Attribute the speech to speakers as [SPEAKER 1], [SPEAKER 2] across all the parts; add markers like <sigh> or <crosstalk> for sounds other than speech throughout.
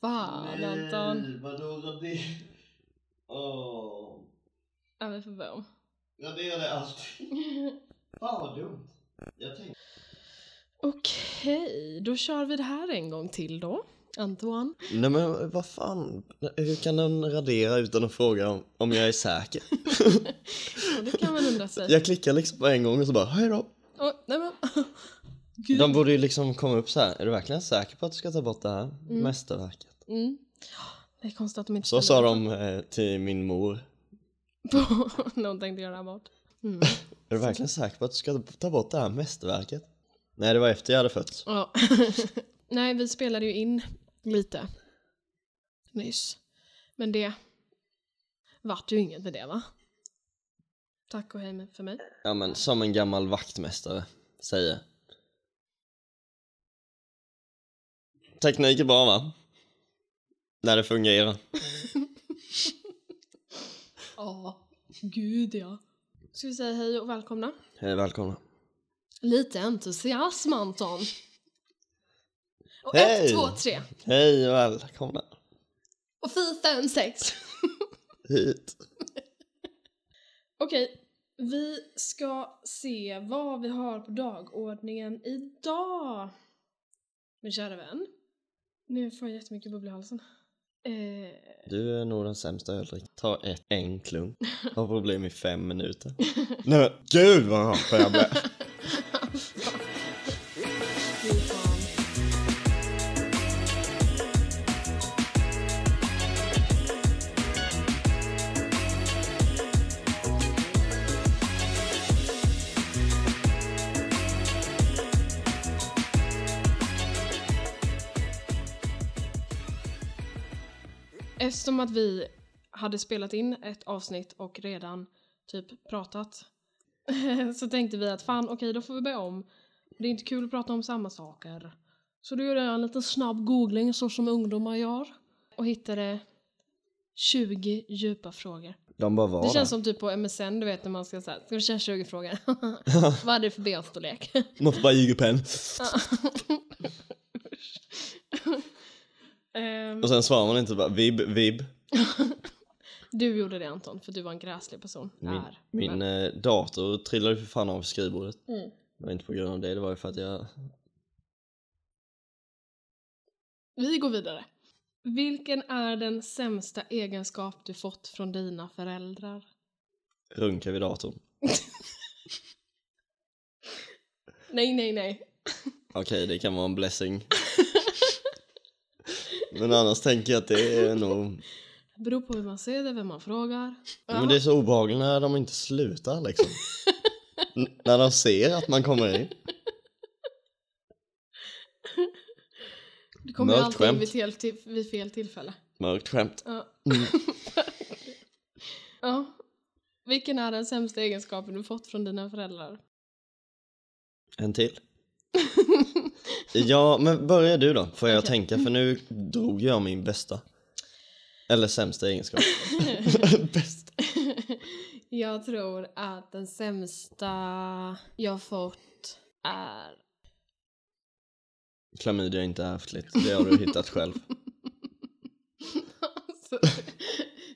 [SPEAKER 1] fan Anton.
[SPEAKER 2] Nej, vadå radera? Åh.
[SPEAKER 1] Ja men för vad?
[SPEAKER 2] Raderade
[SPEAKER 1] <laughs>
[SPEAKER 2] allting. Fan vad dumt. Jag tänkte...
[SPEAKER 1] Okej, då kör vi det här en gång till då. Antoine.
[SPEAKER 2] Nej men vad fan. Hur kan den radera utan att fråga om, om jag
[SPEAKER 1] <laughs>
[SPEAKER 2] är säker?
[SPEAKER 1] Ja, det kan man undra sig.
[SPEAKER 2] jag klickar liksom på en gång och så bara hej då.
[SPEAKER 1] Oj, nej men. <laughs> Gud.
[SPEAKER 2] De borde ju liksom komma upp så här. Är du verkligen säker på att du ska ta bort det här
[SPEAKER 1] Mm.
[SPEAKER 2] mästerverket?
[SPEAKER 1] Mm. Det är konstigt att de inte
[SPEAKER 2] Så sa
[SPEAKER 1] ställer
[SPEAKER 2] de eh, till min mor.
[SPEAKER 1] på <laughs> någonting till göra bort. Mm.
[SPEAKER 2] Är du verkligen säker på att du ska ta bort det här mästerverket? Nej, det var efter jag hade fötts.
[SPEAKER 1] Ja. <laughs> Nej, vi spelade ju in lite nyss. Men det vart ju inget med det va? Tack och hej med- för mig.
[SPEAKER 2] Ja, men som en gammal vaktmästare säger. Teknik är bra, va? När det fungerar.
[SPEAKER 1] Ja, gud ja. Ska vi säga hej och välkomna?
[SPEAKER 2] Hej, välkomna.
[SPEAKER 1] Lite entusiasm Anton. Och
[SPEAKER 2] Hej!
[SPEAKER 1] ett, två, tre.
[SPEAKER 2] Hej och välkomna
[SPEAKER 1] Och fy, fem, sex.
[SPEAKER 2] hit.
[SPEAKER 1] Okej, vi ska se vad vi har på dagordningen idag. Min kära vän. Nu får jag jättemycket bubbla i halsen. Eh,
[SPEAKER 2] Du är nog den sämsta öldrickaren. Ta ett, en klunk. Har problem i
[SPEAKER 1] <laughs>
[SPEAKER 2] fem minuter. Nej, men gud vad han får jag bli.
[SPEAKER 1] fy fan. Eftersom att vi hade spelat in ett avsnitt och redan typ pratat <laughs> så tänkte vi att fan okej då får vi börja om. Det är inte kul att prata om samma saker. Så då gjorde jag en liten snabb googling så som ungdomar gör och hittade 20 djupa frågor.
[SPEAKER 2] De bara var
[SPEAKER 1] det känns
[SPEAKER 2] där.
[SPEAKER 1] som typ på MSN du vet när man ska säga ska vi köra 20
[SPEAKER 2] <laughs>
[SPEAKER 1] frågor? Vad är det för <laughs> BH-storlek?
[SPEAKER 2] Man får bara ljuga på en.
[SPEAKER 1] Ehm,
[SPEAKER 2] Och sen svarar man inte bara vib, vib.
[SPEAKER 1] du gjorde det Anton för du var en gräslig person.
[SPEAKER 2] Min,
[SPEAKER 1] Är.
[SPEAKER 2] min eh, dator trillade ju för fan av skrivbordet.
[SPEAKER 1] Mm.
[SPEAKER 2] Det var inte på grund av det, det var ju för att jag...
[SPEAKER 1] Vi går vidare. Vilken är den sämsta egenskap du fått från dina föräldrar?
[SPEAKER 2] runkar vid datorn.
[SPEAKER 1] Nej, nej, nej.
[SPEAKER 2] Okej, det kan vara en blessing. <laughs> Men annars tänker jag att det är nog...
[SPEAKER 1] Beror på hur man ser det, vem man frågar.
[SPEAKER 2] Men det är så obehagligt när de inte slutar liksom. N- när de ser att man kommer in.
[SPEAKER 1] Du kommer ju
[SPEAKER 2] mörkt
[SPEAKER 1] alltid in
[SPEAKER 2] skämt.
[SPEAKER 1] vid, fel till, vid fel tillfälle.
[SPEAKER 2] Mörkt skämt.
[SPEAKER 1] Ja.
[SPEAKER 2] Mm.
[SPEAKER 1] <laughs> ja. Vilken är den sämsta egenskapen du fått från dina föräldrar? <laughs>
[SPEAKER 2] En till. Ja, men börja du då, får jag
[SPEAKER 1] Okej.
[SPEAKER 2] tänka. För nu drog jag min bästa. Eller sämsta egenskap. bästa.
[SPEAKER 1] jag tror att den sämsta jag fått är...
[SPEAKER 2] Klamydia är inte ärftligt, det har du hittat själv.
[SPEAKER 1] <laughs> Alltså,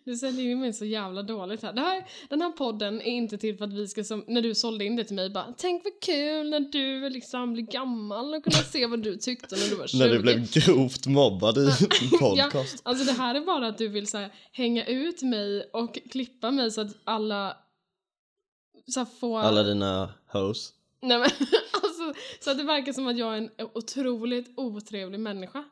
[SPEAKER 1] du säljer ju mig så jävla dåligt här. Det här. Den här podden är inte till för att vi ska, som när du sålde in det till mig, bara tänk vad kul när du liksom blir gammal och kunna se vad du tyckte när du var 20.
[SPEAKER 2] <laughs> När du blev grovt mobbad i en podcast.
[SPEAKER 1] Alltså det här är bara att du vill så här, hänga ut mig och klippa mig så att alla så här, får...
[SPEAKER 2] Alla dina hoes.
[SPEAKER 1] Nej, men, <laughs> alltså, så att det verkar som att jag är en otroligt otrevlig människa.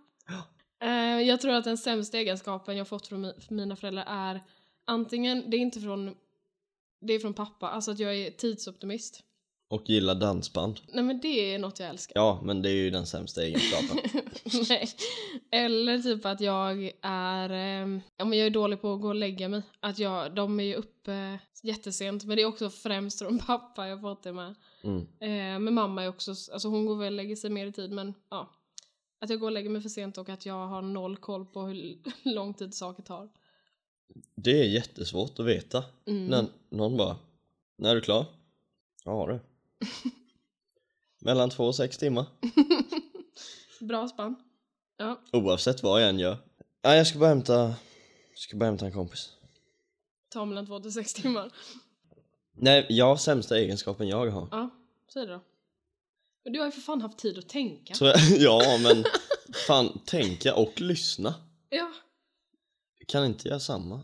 [SPEAKER 1] Eh, jag tror att den sämsta egenskapen jag fått från mi- från mina föräldrar är antingen, det är inte från, det är från pappa, alltså att jag är tidsoptimist.
[SPEAKER 2] Och gillar dansband.
[SPEAKER 1] Nej men det är något jag älskar. <laughs>
[SPEAKER 2] Ja, men det är ju den sämsta egenskapen.
[SPEAKER 1] Nej. Eller typ att jag är, ehm, ja men jag är dålig på att gå och lägga mig. Att jag, de är ju uppe jättesent men det är också främst från <laughs> pappa jag fått det med.
[SPEAKER 2] Mm.
[SPEAKER 1] Eh, men mamma är också, alltså hon går väl och lägger sig mer i tid men ja. Att jag går och lägger mig för sent och att jag har noll koll på hur <laughs> lång tid saker tar.
[SPEAKER 2] Det är jättesvårt att veta.
[SPEAKER 1] Mm.
[SPEAKER 2] När någon bara, när är du klar? Ja du. <laughs> Mellan två och sex timmar.
[SPEAKER 1] Bra spann. Ja.
[SPEAKER 2] Oavsett vad jag än gör. Ja, jag ska bara hämta... Ska bara hämta en kompis.
[SPEAKER 1] Ta mellan två till sex timmar.
[SPEAKER 2] Nej, jag har sämsta egenskapen jag har.
[SPEAKER 1] Ja, säg det då. Men du har ju för fan haft tid att tänka.
[SPEAKER 2] Tror jag, <laughs> ja, men fan, tänka och lyssna.
[SPEAKER 1] Ja,
[SPEAKER 2] Kan inte jag samma?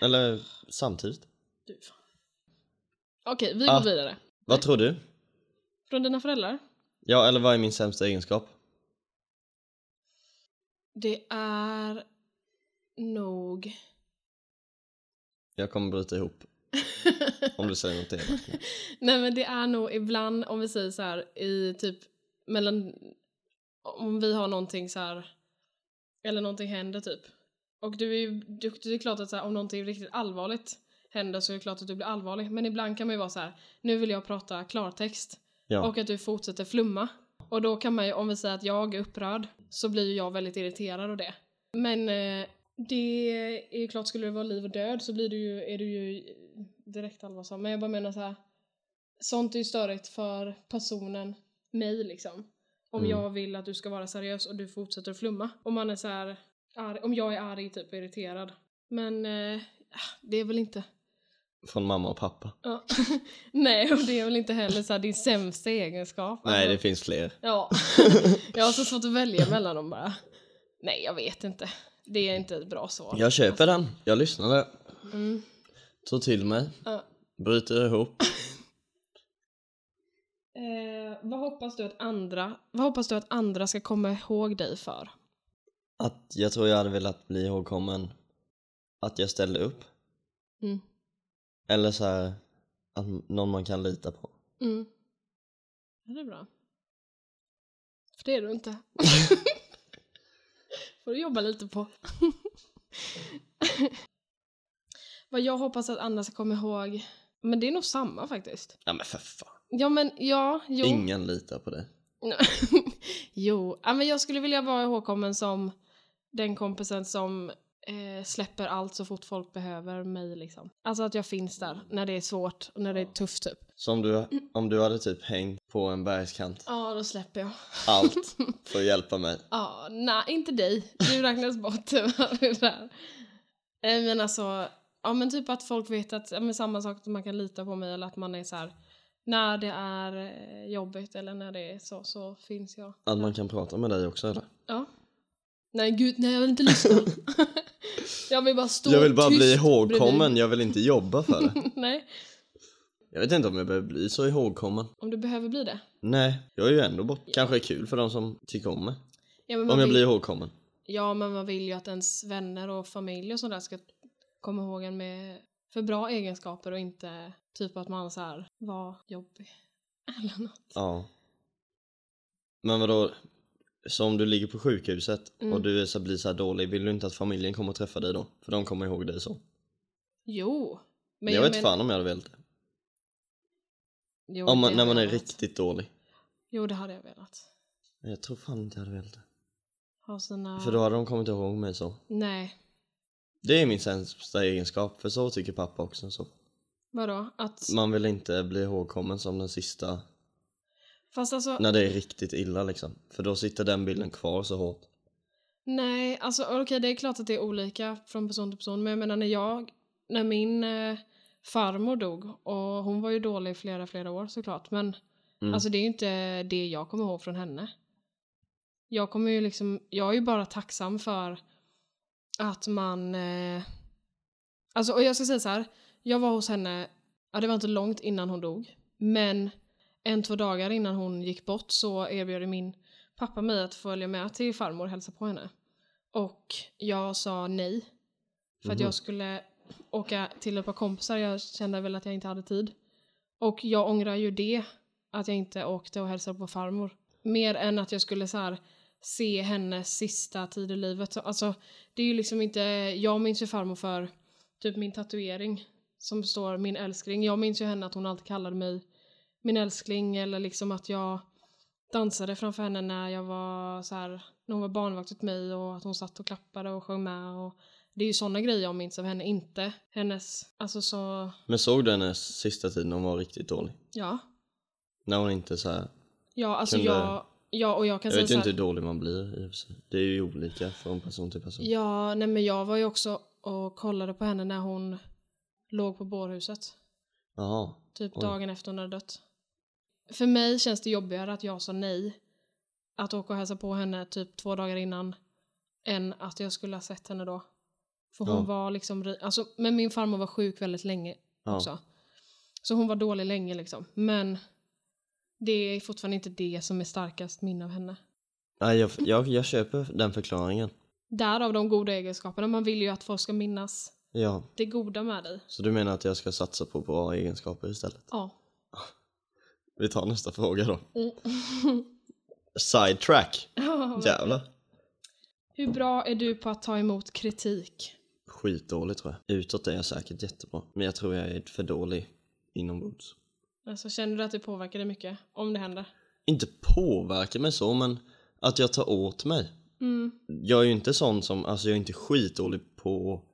[SPEAKER 2] Eller samtidigt?
[SPEAKER 1] du fan. Okej, vi
[SPEAKER 2] Ah.
[SPEAKER 1] går vidare.
[SPEAKER 2] Vad tror du?
[SPEAKER 1] Från dina föräldrar?
[SPEAKER 2] Ja, eller vad är min sämsta egenskap?
[SPEAKER 1] Det är nog...
[SPEAKER 2] Jag kommer bryta ihop om du säger något elakt. nu.
[SPEAKER 1] Nej men det är nog ibland om vi säger så här i typ mellan om vi har någonting så här eller någonting händer typ. Och du är ju duktig, det är klart att så här, om någonting riktigt allvarligt händer så är det klart att du blir allvarlig. Men ibland kan man ju vara så här, nu vill jag prata klartext
[SPEAKER 2] Ja.
[SPEAKER 1] och att du fortsätter flumma. Och då kan man ju, om vi säger att jag är upprörd så blir ju jag väldigt irriterad av det. Men eh, det är ju klart, skulle det vara liv och död så blir du ju, är du ju direkt allvarsam. Men jag bara menar så här, sånt är ju störigt för personen, mig liksom. Om
[SPEAKER 2] Mm.
[SPEAKER 1] jag vill att du ska vara seriös och du fortsätter att flumma. Om man är så här, arg, om jag är arg typ och irriterad. Men eh, det är väl inte...
[SPEAKER 2] Från mamma och pappa.
[SPEAKER 1] Ja. <laughs> Nej, och det är väl inte heller så här, din sämsta egenskap.
[SPEAKER 2] Nej,
[SPEAKER 1] Alltså,
[SPEAKER 2] det finns fler.
[SPEAKER 1] Ja, jag har så svårt att välja mellan dem bara. Nej, jag vet inte. Det är inte ett bra svar.
[SPEAKER 2] Jag köper den. Jag lyssnade.
[SPEAKER 1] Mm.
[SPEAKER 2] Tog till mig.
[SPEAKER 1] Ja.
[SPEAKER 2] Bryter ihop.
[SPEAKER 1] Eh, vad, hoppas du att andra, vad hoppas du att andra ska komma ihåg dig för?
[SPEAKER 2] Att jag tror jag hade velat bli ihågkommen. Att jag ställde upp.
[SPEAKER 1] Mm.
[SPEAKER 2] Eller så här, att någon man kan lita på.
[SPEAKER 1] Mm. Ja, det är bra. För det är du <laughs> inte. får du jobba lite på. <laughs> Vad jag hoppas att andra ska komma ihåg. Men det är nog samma faktiskt.
[SPEAKER 2] Ja men för fan.
[SPEAKER 1] Ja men ja, jo.
[SPEAKER 2] Ingen litar på dig.
[SPEAKER 1] <laughs> jo, ja, men jag skulle vilja vara ihågkommen som den kompisen som eh, släpper allt så fort folk behöver mig liksom. Alltså att jag finns där när det är svårt och när det är tufft typ.
[SPEAKER 2] Så om du, om du hade typ hängt på en bergskant.
[SPEAKER 1] Ja, då släpper jag.
[SPEAKER 2] Allt för att hjälpa mig.
[SPEAKER 1] <laughs> Ja, nej, inte dig. Du räknas bort <laughs> tyvärr i det där. Eh, Men alltså, ja men typ att folk vet att, ja, men samma sak, att man kan lita på mig eller att man är så här när det är eh, jobbigt eller när det är så, så finns jag.
[SPEAKER 2] Att man kan prata med dig också eller?
[SPEAKER 1] Ja. Nej gud, nej jag vill inte
[SPEAKER 2] <laughs>
[SPEAKER 1] lyssna. jag vill bara stå
[SPEAKER 2] jag vill bara
[SPEAKER 1] tyst
[SPEAKER 2] bli ihågkommen,
[SPEAKER 1] bredvid.
[SPEAKER 2] jag vill inte jobba för det.
[SPEAKER 1] nej,
[SPEAKER 2] Jag vet inte om jag behöver bli så ihågkommen.
[SPEAKER 1] om du behöver bli det.
[SPEAKER 2] Nej, jag är ju ändå bort. Kanske är kul för de som tycker om mig.
[SPEAKER 1] Ja, men man
[SPEAKER 2] Om jag
[SPEAKER 1] vill,
[SPEAKER 2] blir ihågkommen.
[SPEAKER 1] Ja men man vill ju att ens vänner och familj och sådär ska komma ihåg en med för bra egenskaper och inte typ att man så här var jobbig. Eller något.
[SPEAKER 2] Ja. Men vadå? Så om du ligger på sjukhuset
[SPEAKER 1] Mm.
[SPEAKER 2] och du är så, blir så här dålig, vill du inte att familjen kommer och träffa dig då? För de kommer ihåg dig så.
[SPEAKER 1] Jo.
[SPEAKER 2] Men jag, vet fan om jag hade velat det.
[SPEAKER 1] Jo,
[SPEAKER 2] Om man,
[SPEAKER 1] det
[SPEAKER 2] när
[SPEAKER 1] hade
[SPEAKER 2] man är
[SPEAKER 1] jag velat.
[SPEAKER 2] riktigt dålig.
[SPEAKER 1] Jo det hade jag velat.
[SPEAKER 2] Men Jag tror fan inte jag hade velat det.
[SPEAKER 1] Ha sina...
[SPEAKER 2] För då hade de kommit ihåg mig så.
[SPEAKER 1] Nej.
[SPEAKER 2] Det är min sämsta egenskap, för så tycker pappa också. Så.
[SPEAKER 1] Vadå? Att...
[SPEAKER 2] Man vill inte bli ihågkommen som den sista
[SPEAKER 1] Fast alltså...
[SPEAKER 2] när det är riktigt illa liksom. För då sitter den bilden kvar så hårt.
[SPEAKER 1] Nej, alltså okej det är klart att det är olika från person till person men jag menar när jag, när min eh, farmor dog och hon var ju dålig i flera flera år såklart men
[SPEAKER 2] Mm.
[SPEAKER 1] alltså det är ju inte det jag kommer ihåg från henne. Jag kommer ju liksom, jag är ju bara tacksam för att man, eh, alltså och jag ska säga så här, jag var hos henne, ja det var inte långt innan hon dog men en två dagar innan hon gick bort så erbjöd min pappa mig att följa med till farmor och hälsa på henne. Och jag sa nej. För att
[SPEAKER 2] Mhm.
[SPEAKER 1] jag skulle åka till ett par kompisar, jag kände väl att jag inte hade tid. Och jag ångrar ju det, att jag inte åkte och hälsade på farmor. Mer än att jag skulle så här se hennes sista tid i livet. Så, Alltså, det är ju liksom inte, jag minns ju farmor för typ min tatuering som står min älskling. Jag minns ju henne att hon alltid kallade mig min älskling eller liksom att jag dansade framför henne när jag var så här, när hon var barnvakt åt mig och att hon satt och klappade och sjöng med och det är ju sådana grejer jag minns av henne, inte hennes, alltså så,
[SPEAKER 2] Men såg du henne sista tiden hon var riktigt dålig?
[SPEAKER 1] ja.
[SPEAKER 2] När hon inte så här...
[SPEAKER 1] Ja, alltså
[SPEAKER 2] Kunde-
[SPEAKER 1] jag, Ja, och jag kan
[SPEAKER 2] Jag
[SPEAKER 1] säga
[SPEAKER 2] vet
[SPEAKER 1] så
[SPEAKER 2] ju
[SPEAKER 1] här,
[SPEAKER 2] inte hur dålig man blir i och för sig. Det är ju olika från person till person.
[SPEAKER 1] Ja, nej men jag var ju också och kollade på henne när hon låg på bårhuset.
[SPEAKER 2] Jaha.
[SPEAKER 1] Typ
[SPEAKER 2] Oj.
[SPEAKER 1] dagen efter hon hade dött. För mig känns det jobbigare att jag sa nej. Att åka och hälsa på henne typ två dagar innan. Än att jag skulle ha sett henne då. För hon
[SPEAKER 2] Ja.
[SPEAKER 1] var liksom... ri- Alltså, men min farmor var sjuk väldigt länge
[SPEAKER 2] Ja.
[SPEAKER 1] också. Så hon var dålig länge liksom. Men det är fortfarande inte det som är starkast minne av henne.
[SPEAKER 2] Nej, jag, jag, jag köper den förklaringen.
[SPEAKER 1] Därav de goda egenskaperna. Man vill ju att folk ska minnas
[SPEAKER 2] Ja,
[SPEAKER 1] det goda med dig.
[SPEAKER 2] så du menar att jag ska satsa på bra egenskaper istället?
[SPEAKER 1] Ja. <laughs>
[SPEAKER 2] Vi tar nästa fråga då.
[SPEAKER 1] Mm. <laughs>
[SPEAKER 2] Sidetrack. Jävlar.
[SPEAKER 1] Hur bra är du på att ta emot kritik?
[SPEAKER 2] Skitdålig tror jag. Utåt är jag säkert jättebra, men jag tror jag är för dålig inombords.
[SPEAKER 1] Alltså, känner du att det påverkar dig mycket om det händer?
[SPEAKER 2] Inte påverkar mig så, men att jag tar åt mig.
[SPEAKER 1] Mm.
[SPEAKER 2] Jag är ju inte sån som, alltså jag är inte skitdålig på att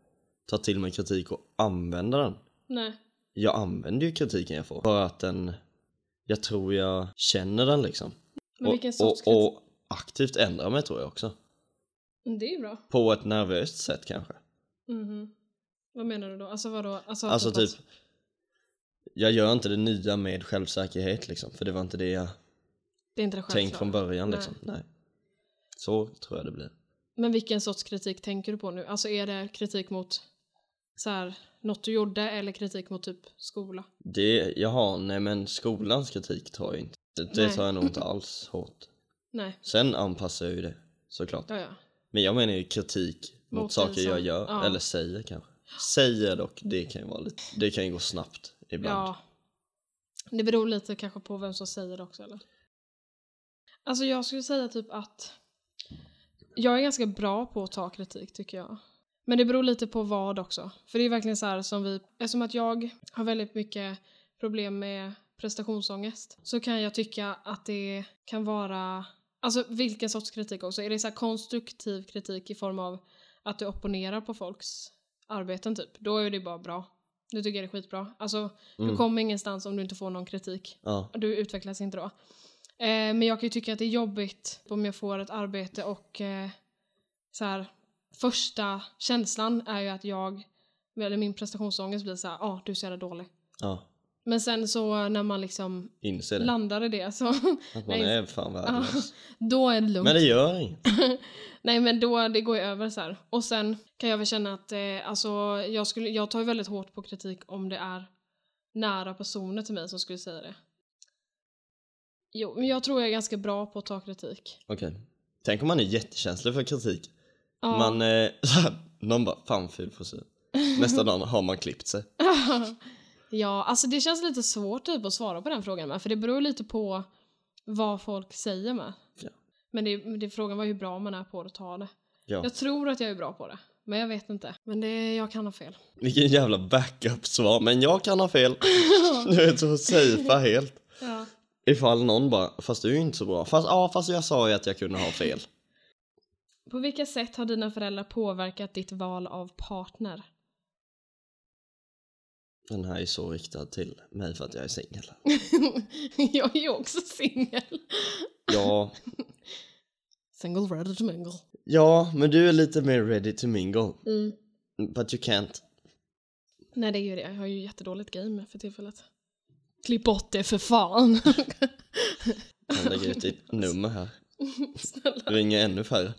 [SPEAKER 2] ta till mig kritik och använda den.
[SPEAKER 1] Nej.
[SPEAKER 2] Jag använder ju kritiken jag får för att den, jag tror jag känner den liksom.
[SPEAKER 1] Men vilken
[SPEAKER 2] och,
[SPEAKER 1] sorts
[SPEAKER 2] och, och aktivt ändrar mig tror jag också.
[SPEAKER 1] kritik? Mm, Det är bra.
[SPEAKER 2] På ett nervöst sätt kanske.
[SPEAKER 1] Mhm. Vad menar du då? Alltså vadå? Alltså, att
[SPEAKER 2] Alltså
[SPEAKER 1] du fått-
[SPEAKER 2] typ, jag gör inte det nya med självsäkerhet liksom, för det var inte det jag
[SPEAKER 1] Det är inte det självklara.
[SPEAKER 2] tänkt från början
[SPEAKER 1] Nej.
[SPEAKER 2] liksom. Nej. Så tror jag det blir.
[SPEAKER 1] Men vilken sorts kritik tänker du på nu? Alltså är det kritik mot så här, något du gjorde eller kritik mot typ skola?
[SPEAKER 2] Det, jaha, nej men skolans kritik tar jag inte. Det, det
[SPEAKER 1] Nej.
[SPEAKER 2] tar
[SPEAKER 1] <laughs>
[SPEAKER 2] jag nog inte alls hårt.
[SPEAKER 1] Nej.
[SPEAKER 2] Sen anpassar jag ju det såklart.
[SPEAKER 1] Ja, ja.
[SPEAKER 2] Men jag menar ju kritik mot,
[SPEAKER 1] Mot
[SPEAKER 2] saker
[SPEAKER 1] en sån-
[SPEAKER 2] jag gör
[SPEAKER 1] ja.
[SPEAKER 2] eller säger kanske. Säger dock, det kan ju vara lite, det kan ju gå snabbt ibland.
[SPEAKER 1] Ja. Det beror lite kanske på vem som säger det också eller? Alltså jag skulle säga typ att jag är ganska bra på att ta kritik tycker jag. Men det beror lite på vad också. För det är verkligen så här som vi, eftersom att jag har väldigt mycket problem med prestationsångest så kan jag tycka att det kan vara, alltså vilken sorts kritik också. Är det så här konstruktiv kritik i form av att du opponerar på folks arbeten typ, då är det bara bra. Du tycker jag det är skitbra. Alltså
[SPEAKER 2] Mm.
[SPEAKER 1] du kommer ingenstans om du inte får någon kritik.
[SPEAKER 2] Ja.
[SPEAKER 1] Du utvecklas inte då. Eh, men jag kan ju tycka att det är jobbigt om jag får ett arbete och eh, så här, första känslan är ju att jag, eller min prestationsångest blir så här, ja ah, du är så jävla dålig.
[SPEAKER 2] ja.
[SPEAKER 1] Men sen så när man liksom
[SPEAKER 2] Inser det.
[SPEAKER 1] landar i det så, <laughs>
[SPEAKER 2] Att man
[SPEAKER 1] Nej.
[SPEAKER 2] är
[SPEAKER 1] <laughs>
[SPEAKER 2] fan värdelös.
[SPEAKER 1] då är det lugnt.
[SPEAKER 2] Men det gör inget.
[SPEAKER 1] Nej men då, det går ju över så här. Och sen kan jag väl känna att eh, alltså, jag, skulle, jag tar ju väldigt hårt på kritik om det är nära personer till mig som skulle säga det. Jo, men jag tror jag är ganska bra på att ta kritik.
[SPEAKER 2] Okej. Tänk om man är jättekänslig för kritik.
[SPEAKER 1] Ja.
[SPEAKER 2] Man, eh, <laughs> någon bara fan ful frisyr. Nästa dag har man klippt sig.
[SPEAKER 1] <laughs> ja, alltså det känns lite svårt typ att svara på den frågan med, för det beror lite på vad folk säger med.
[SPEAKER 2] Ja.
[SPEAKER 1] Men det, det, frågan var hur bra man är på att ta det.
[SPEAKER 2] Ja.
[SPEAKER 1] Jag tror att jag är bra på det, men jag vet inte. Men det, jag kan ha fel.
[SPEAKER 2] Vilken jävla backup-svar, men jag kan
[SPEAKER 1] <laughs>
[SPEAKER 2] ha fel. Du vet, så safea helt.
[SPEAKER 1] ja.
[SPEAKER 2] Ifall någon bara, fast du är ju inte så bra. Fast, ja, fast jag sa ju att jag kunde ha fel.
[SPEAKER 1] På vilka sätt har dina föräldrar påverkat ditt val av partner?
[SPEAKER 2] Den här är så riktad till mig för att jag är singel.
[SPEAKER 1] <laughs> jag är ju också singel.
[SPEAKER 2] Ja,
[SPEAKER 1] Single ready to mingle.
[SPEAKER 2] ja, men du är lite mer ready to mingle.
[SPEAKER 1] Mm.
[SPEAKER 2] But you can't.
[SPEAKER 1] Nej, det är ju det. Jag har ju jättedåligt game för tillfället. Klipp bort det för fan.
[SPEAKER 2] Kan lägga ut ditt nummer här.
[SPEAKER 1] <laughs> Snälla,
[SPEAKER 2] Ringa ännu färre.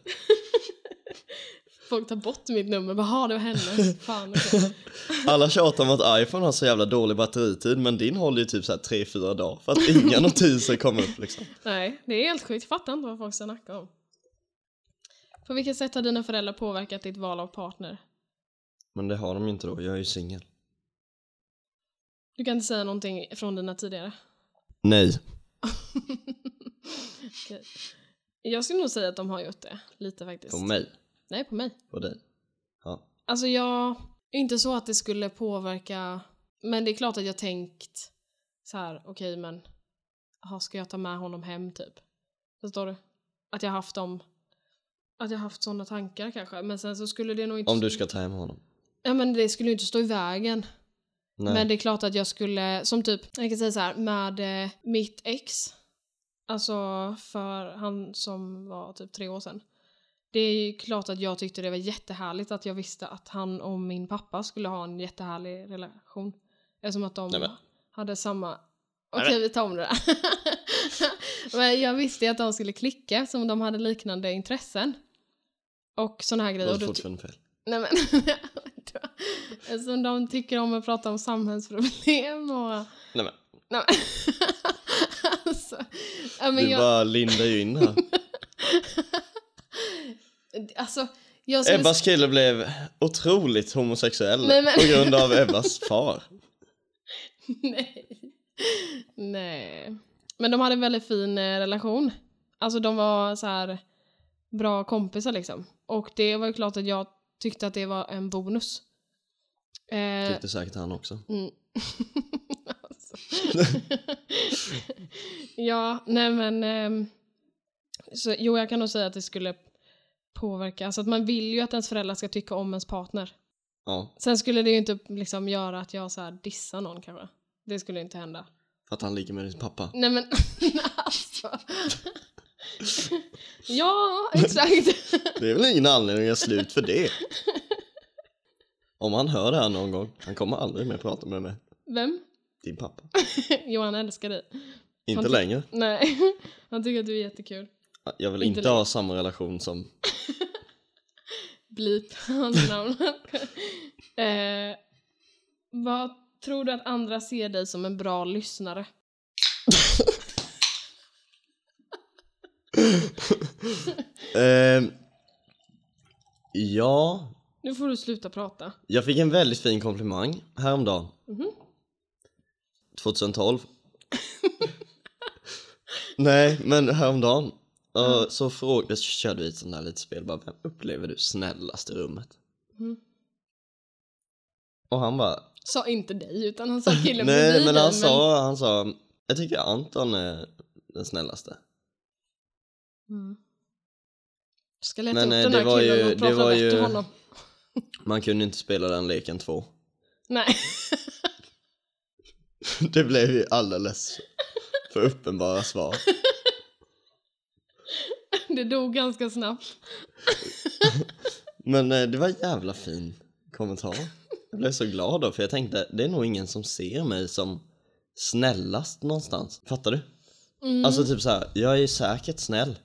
[SPEAKER 1] folk tar bort mitt nummer. Vad har det var hennes? Fan, <laughs> okej.
[SPEAKER 2] Alla tjatar om att iPhone har så jävla dålig batteritid men din håller ju typ så här 3-4 dagar för att inga notiser kommer upp liksom.
[SPEAKER 1] Nej, det är helt sjukt. Jag fattar inte vad folk snackar om. På vilket sätt har dina föräldrar påverkat ditt val av partner?
[SPEAKER 2] Men det har de ju inte då, jag är ju singel.
[SPEAKER 1] Du kan inte säga någonting från dina tidigare?
[SPEAKER 2] Nej.
[SPEAKER 1] Okej. Jag skulle nog säga att de har gjort det, lite faktiskt.
[SPEAKER 2] På mig.
[SPEAKER 1] Nej, på mig.
[SPEAKER 2] På dig. Ja.
[SPEAKER 1] Alltså jag, inte så att det skulle påverka, men det är klart att jag tänkt så här, okej men, aha, ska jag ta med honom hem typ? Förstår du? Att jag haft dem, att jag haft sådana tankar kanske, men sen så skulle det nog inte...
[SPEAKER 2] Om du ska ta hem honom.
[SPEAKER 1] Ja men det skulle ju inte stå i vägen.
[SPEAKER 2] Nej.
[SPEAKER 1] Men det är klart att jag skulle, som typ, jag kan säga så här, med eh, mitt ex. Alltså för han som var typ tre år sedan. Det är ju klart att jag tyckte det var jättehärligt att jag visste att han och min pappa skulle ha en jättehärlig relation. Eftersom att de
[SPEAKER 2] Nej, men.
[SPEAKER 1] hade samma...
[SPEAKER 2] Nej,
[SPEAKER 1] Okej, vi tar om det där. <laughs> men jag visste ju att de skulle klicka eftersom de hade liknande intressen. Och såna här
[SPEAKER 2] Det
[SPEAKER 1] grejer.
[SPEAKER 2] var
[SPEAKER 1] Och då ty-
[SPEAKER 2] fortfarande fel.
[SPEAKER 1] Nej men, <laughs> eftersom de tycker om att prata om samhällsproblem och...
[SPEAKER 2] Nej men,
[SPEAKER 1] Nej men, alltså, ja, men
[SPEAKER 2] du
[SPEAKER 1] jag,
[SPEAKER 2] bara lindar ju in här.
[SPEAKER 1] alltså, jag skulle...
[SPEAKER 2] Ebbas kille blev otroligt homosexuell
[SPEAKER 1] Nej, men-
[SPEAKER 2] på grund
[SPEAKER 1] <laughs>
[SPEAKER 2] av Ebbas far.
[SPEAKER 1] <laughs> Nej. Nej. Men de hade en väldigt fin eh, relation. Alltså de var så här bra kompisar liksom. Och det var ju klart att jag tyckte att det var en bonus. Eh,
[SPEAKER 2] Tyckte säkert han också.
[SPEAKER 1] Mm. alltså. ja, nej men... ehm, så, jo, jag kan nog säga att det skulle påverka. Alltså att man vill ju att ens föräldrar ska tycka om ens partner.
[SPEAKER 2] Ja,
[SPEAKER 1] Sen skulle det ju inte liksom göra att jag så här dissar någon kanske. Det skulle inte hända.
[SPEAKER 2] för att han ligger med din pappa.
[SPEAKER 1] Nej men <laughs> alltså. <laughs> ja, exakt.
[SPEAKER 2] Det är väl ingen anledning att göra slut
[SPEAKER 1] <laughs>
[SPEAKER 2] för det. Om han hör det här någon gång, han kommer aldrig mer prata med mig.
[SPEAKER 1] Vem?
[SPEAKER 2] Din pappa.
[SPEAKER 1] Johan älskar dig.
[SPEAKER 2] Inte
[SPEAKER 1] ty-
[SPEAKER 2] längre.
[SPEAKER 1] Nej, <laughs> han tycker att du är jättekul.
[SPEAKER 2] Jag vill
[SPEAKER 1] Inte
[SPEAKER 2] inte ha samma relation som...
[SPEAKER 1] Blip <laughs> hans namn. eh, vad tror du att andra ser dig som en bra lyssnare?
[SPEAKER 2] Ehm, ja,
[SPEAKER 1] Nu får du sluta prata.
[SPEAKER 2] jag fick en väldigt fin komplimang häromdagen.
[SPEAKER 1] Mhm.
[SPEAKER 2] 2012. Nej, men häromdagen. Uh,
[SPEAKER 1] Mm.
[SPEAKER 2] Så frågade, körde vi ett sånt där litet spel, bara vem upplever du snällast i rummet?
[SPEAKER 1] Mhm.
[SPEAKER 2] Och han bara,
[SPEAKER 1] Sa inte dig, utan han sa killen
[SPEAKER 2] <laughs> nej
[SPEAKER 1] bredvid
[SPEAKER 2] men
[SPEAKER 1] dig,
[SPEAKER 2] han sa, han sa, jag tycker Anton är den snällaste.
[SPEAKER 1] Mm. Jag ska leta
[SPEAKER 2] Men,
[SPEAKER 1] upp
[SPEAKER 2] eh,
[SPEAKER 1] den
[SPEAKER 2] det
[SPEAKER 1] här
[SPEAKER 2] var
[SPEAKER 1] killen
[SPEAKER 2] ju-
[SPEAKER 1] och
[SPEAKER 2] det
[SPEAKER 1] prata
[SPEAKER 2] var
[SPEAKER 1] bort
[SPEAKER 2] ju-
[SPEAKER 1] honom.
[SPEAKER 2] Man kunde inte spela den leken två. <laughs>
[SPEAKER 1] Nej. <laughs>
[SPEAKER 2] Det blev ju alldeles för uppenbara svar.
[SPEAKER 1] Det dog ganska snabbt.
[SPEAKER 2] Men eh, det var en jävla fin kommentar. Jag blev så glad då, för jag tänkte det är nog ingen som ser mig som snällast någonstans. Fattar du?
[SPEAKER 1] Mm.
[SPEAKER 2] Alltså typ så här, jag är säkert snäll.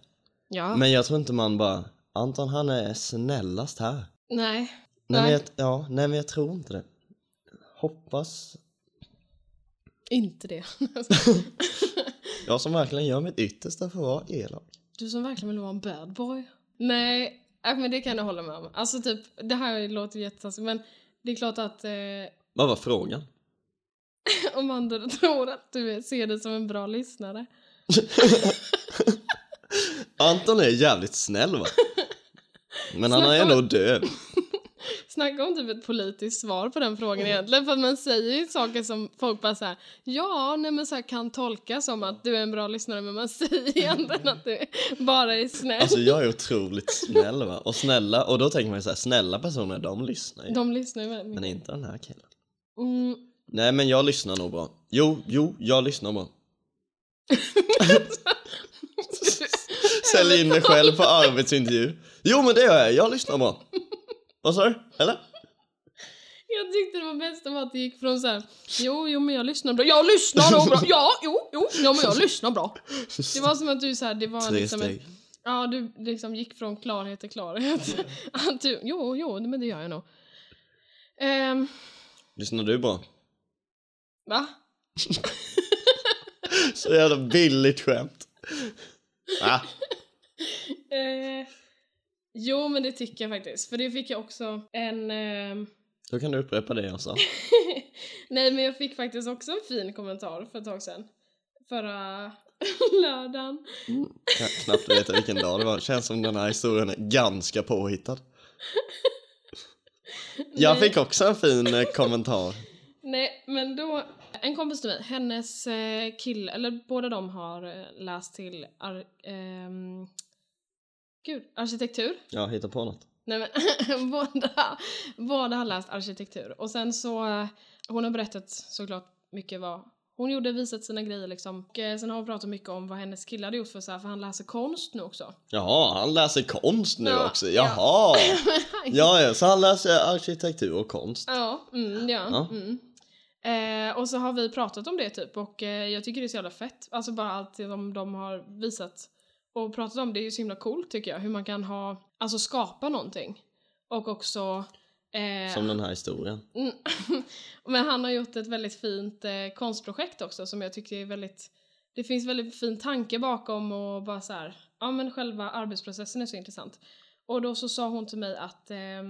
[SPEAKER 1] ja.
[SPEAKER 2] Men jag tror inte man bara, Anton han är snällast här.
[SPEAKER 1] Nej.
[SPEAKER 2] Nej, men
[SPEAKER 1] Nej.
[SPEAKER 2] jag, ja, nej men jag tror inte det. Hoppas.
[SPEAKER 1] Inte det. <laughs>
[SPEAKER 2] Jag som verkligen gör mitt yttersta för att vara elak.
[SPEAKER 1] Du som verkligen vill vara en bad boy. Nej, äh, men det kan jag hålla med om. Alltså typ, det här låter jättetaskigt men det är klart att eh, <laughs>
[SPEAKER 2] Vad var frågan?
[SPEAKER 1] om andra tror att du är- ser dig som en bra lyssnare.
[SPEAKER 2] Anton är jävligt
[SPEAKER 1] <laughs>
[SPEAKER 2] snäll va? Men han är
[SPEAKER 1] Snacka om-
[SPEAKER 2] ändå döv.
[SPEAKER 1] Snacka om typ ett politiskt svar på den
[SPEAKER 2] Mm.
[SPEAKER 1] frågan egentligen för att man säger ju saker som folk bara såhär ja, nej men så här kan tolkas som att du är en bra lyssnare men man <laughs> säger egentligen att du bara är snäll.
[SPEAKER 2] Mm. Alltså jag är otroligt snäll va? Och snälla, och då tänker man ju såhär, snälla personer de lyssnar ju.
[SPEAKER 1] De lyssnar ju väldigt
[SPEAKER 2] Men
[SPEAKER 1] mycket.
[SPEAKER 2] inte den här killen.
[SPEAKER 1] Mm.
[SPEAKER 2] Nej men jag lyssnar nog bra. Jo, jo, jag
[SPEAKER 1] <laughs>
[SPEAKER 2] lyssnar bra. Säljer in mig själv på arbetsintervju. Jo men det gör jag, jag lyssnar bra. Vad sa du? Eller?
[SPEAKER 1] Jag tyckte det var bäst om att det gick från så här, jo, jo men jag lyssnar bra, jag lyssnar nog bra, ja, jo, jo, ja men jag lyssnar bra. Det var som att du så här, det var
[SPEAKER 2] Tre
[SPEAKER 1] liksom en,
[SPEAKER 2] steg.
[SPEAKER 1] ja du liksom gick från klarhet till klarhet.
[SPEAKER 2] <laughs>
[SPEAKER 1] Att du, jo, jo, men det gör jag nog. Ehm,
[SPEAKER 2] Lyssnar du bra?
[SPEAKER 1] va?
[SPEAKER 2] Så jävla billigt skämt. Ah,
[SPEAKER 1] Eh, jo men det tycker jag faktiskt, för det fick jag också en, ehm,
[SPEAKER 2] då kan du upprepa det jag sa.
[SPEAKER 1] nej men jag fick faktiskt också en fin kommentar för ett tag sedan. Förra <laughs> lördagen.
[SPEAKER 2] Jag kan knappt veta vilken dag det var. Känns som den här historien är ganska påhittad. Jag
[SPEAKER 1] Nej.
[SPEAKER 2] fick också en fin eh, kommentar.
[SPEAKER 1] Nej, men då... En kompis till mig, hennes eh, kille, eller båda de har eh, läst till ar, ehm, gud, arkitektur.
[SPEAKER 2] Ja, hitta på något.
[SPEAKER 1] Nej men, <laughs> båda, båda har läst arkitektur. Och sen så, eh, hon har berättat såklart mycket vad Hon gjorde visat sina grejer liksom. Och eh, sen har hon pratat mycket om vad hennes kille hade gjort för så här, för han läser konst nu också.
[SPEAKER 2] Jaha, han läser konst nu
[SPEAKER 1] Ja,
[SPEAKER 2] också.
[SPEAKER 1] ja. <laughs>
[SPEAKER 2] Jaha! Ja, ja, så han läser arkitektur och konst.
[SPEAKER 1] Ja, mm, ja.
[SPEAKER 2] Ja.
[SPEAKER 1] Mm. Eh, och så har vi pratat om det typ och eh, jag tycker det är så jävla fett. Alltså bara allt det de, de har visat och pratat om. Det är ju så himla coolt tycker jag. Hur man kan ha, alltså skapa någonting. Och också... Eh,
[SPEAKER 2] Som den här historien.
[SPEAKER 1] Mm. <laughs> Men han har gjort ett väldigt fint eh, konstprojekt också som jag tycker är väldigt... Det finns väldigt fin tanke bakom och bara så här, ja men själva arbetsprocessen är så intressant. Och då så sa hon till mig att eh,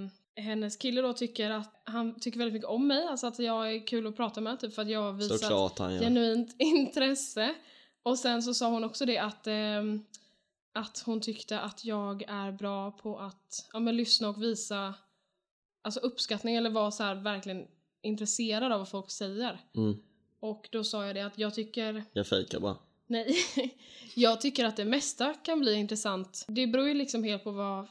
[SPEAKER 1] hennes kille då tycker att han tycker väldigt mycket om mig, alltså att jag är kul att prata med typ för att jag har visat
[SPEAKER 2] Såklart han gör.
[SPEAKER 1] genuint <laughs> intresse. Och sen så sa hon också det att, ehm, att hon tyckte att jag är bra på att ja, men lyssna och visa alltså uppskattning eller vara så här verkligen intresserad av vad folk säger.
[SPEAKER 2] Mm,
[SPEAKER 1] Och då sa jag det att jag tycker, <laughs>
[SPEAKER 2] jag fejkar bara.
[SPEAKER 1] nej, jag tycker att det mesta kan bli intressant. Det beror ju liksom helt på vad,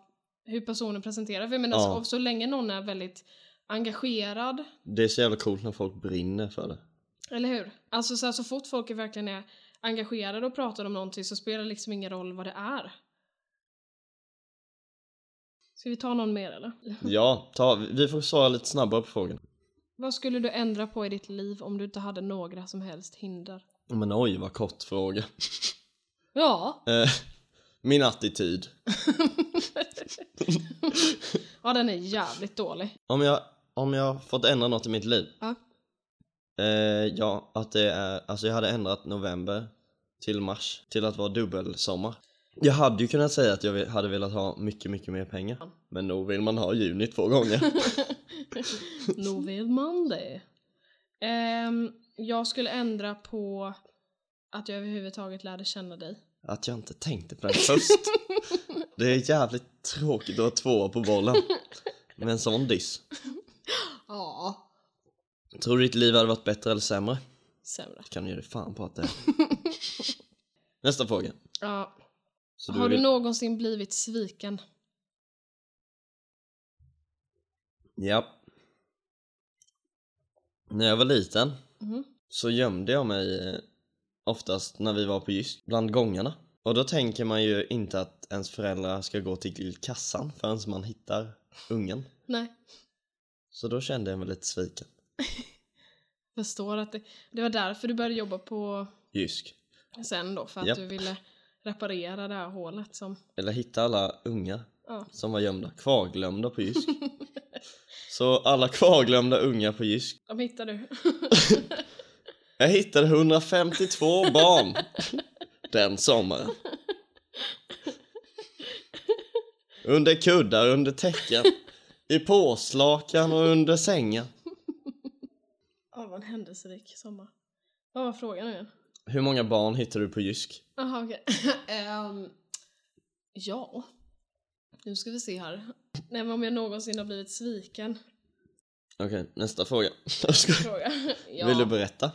[SPEAKER 1] hur personen presenterar. För jag menar,
[SPEAKER 2] Ja.
[SPEAKER 1] så, så länge någon är väldigt engagerad
[SPEAKER 2] Det är så jävla coolt när folk brinner
[SPEAKER 1] <laughs>
[SPEAKER 2] för det.
[SPEAKER 1] Eller hur? Alltså så, här, så fort folk är verkligen är engagerade och pratar om någonting så spelar det liksom ingen roll vad det är. Ska vi ta någon mer eller?
[SPEAKER 2] Ja, ta, vi får svara lite snabbare på frågan.
[SPEAKER 1] Vad skulle du ändra på i ditt liv om du inte hade några som helst hinder?
[SPEAKER 2] Men oj, vad kort fråga.
[SPEAKER 1] Ja!
[SPEAKER 2] Eh, Min attityd.
[SPEAKER 1] ja, den är jävligt dålig.
[SPEAKER 2] Om jag, om jag fått ändra något i mitt liv?
[SPEAKER 1] Ja.
[SPEAKER 2] Eh, ja, att det är, alltså jag hade ändrat november till mars till att vara dubbelsommar. Jag hade ju kunnat säga att jag vill- hade velat ha mycket, mycket mer pengar. Men nog vill man ha juni två gånger.
[SPEAKER 1] <laughs> <laughs> Nog vill man det. Ehm, jag skulle ändra på att jag överhuvudtaget lärde känna dig.
[SPEAKER 2] Att jag inte tänkte på den först. Det är jävligt tråkigt att ha tvåa på bollen. Med en sån diss.
[SPEAKER 1] Ja.
[SPEAKER 2] Tror du ditt liv hade varit bättre eller sämre?
[SPEAKER 1] Sämre.
[SPEAKER 2] Kan du ge dig fan på att
[SPEAKER 1] <laughs>
[SPEAKER 2] det är. Nästa fråga.
[SPEAKER 1] Ja,
[SPEAKER 2] Så
[SPEAKER 1] har du
[SPEAKER 2] vill-
[SPEAKER 1] någonsin blivit sviken?
[SPEAKER 2] Ja. När jag var liten
[SPEAKER 1] Mhm.
[SPEAKER 2] så gömde jag mig eh, oftast när vi var på Jysk bland gångarna. Och då tänker man ju inte att ens föräldrar ska gå till kassan förrän man hittar ungen.
[SPEAKER 1] Nej.
[SPEAKER 2] Så då kände jag mig lite sviken.
[SPEAKER 1] Förstår att det, det var därför du började jobba på
[SPEAKER 2] Jysk.
[SPEAKER 1] sen då, för att
[SPEAKER 2] Japp.
[SPEAKER 1] du ville reparera det här hålet som...
[SPEAKER 2] Eller hitta alla ungar
[SPEAKER 1] Ja.
[SPEAKER 2] som var gömda, kvarglömda på Jysk. så alla kvarglömda ungar på Jysk.
[SPEAKER 1] De hittade du. <laughs>
[SPEAKER 2] Jag hittade 152 barn den sommaren. Under kuddar, under täcken, i påslakan och under sängen.
[SPEAKER 1] Ja, vad en händelserik sommar. Vad var frågan nu igen?
[SPEAKER 2] Hur många barn hittar du på Jysk?
[SPEAKER 1] Jaha, okej. <laughs> Ehm, ja. Nu ska vi se här. Nej, men om jag någonsin har blivit sviken?
[SPEAKER 2] Okej, nästa fråga. Jag skojar.
[SPEAKER 1] Fråga. <laughs> Ja.
[SPEAKER 2] Vill du berätta?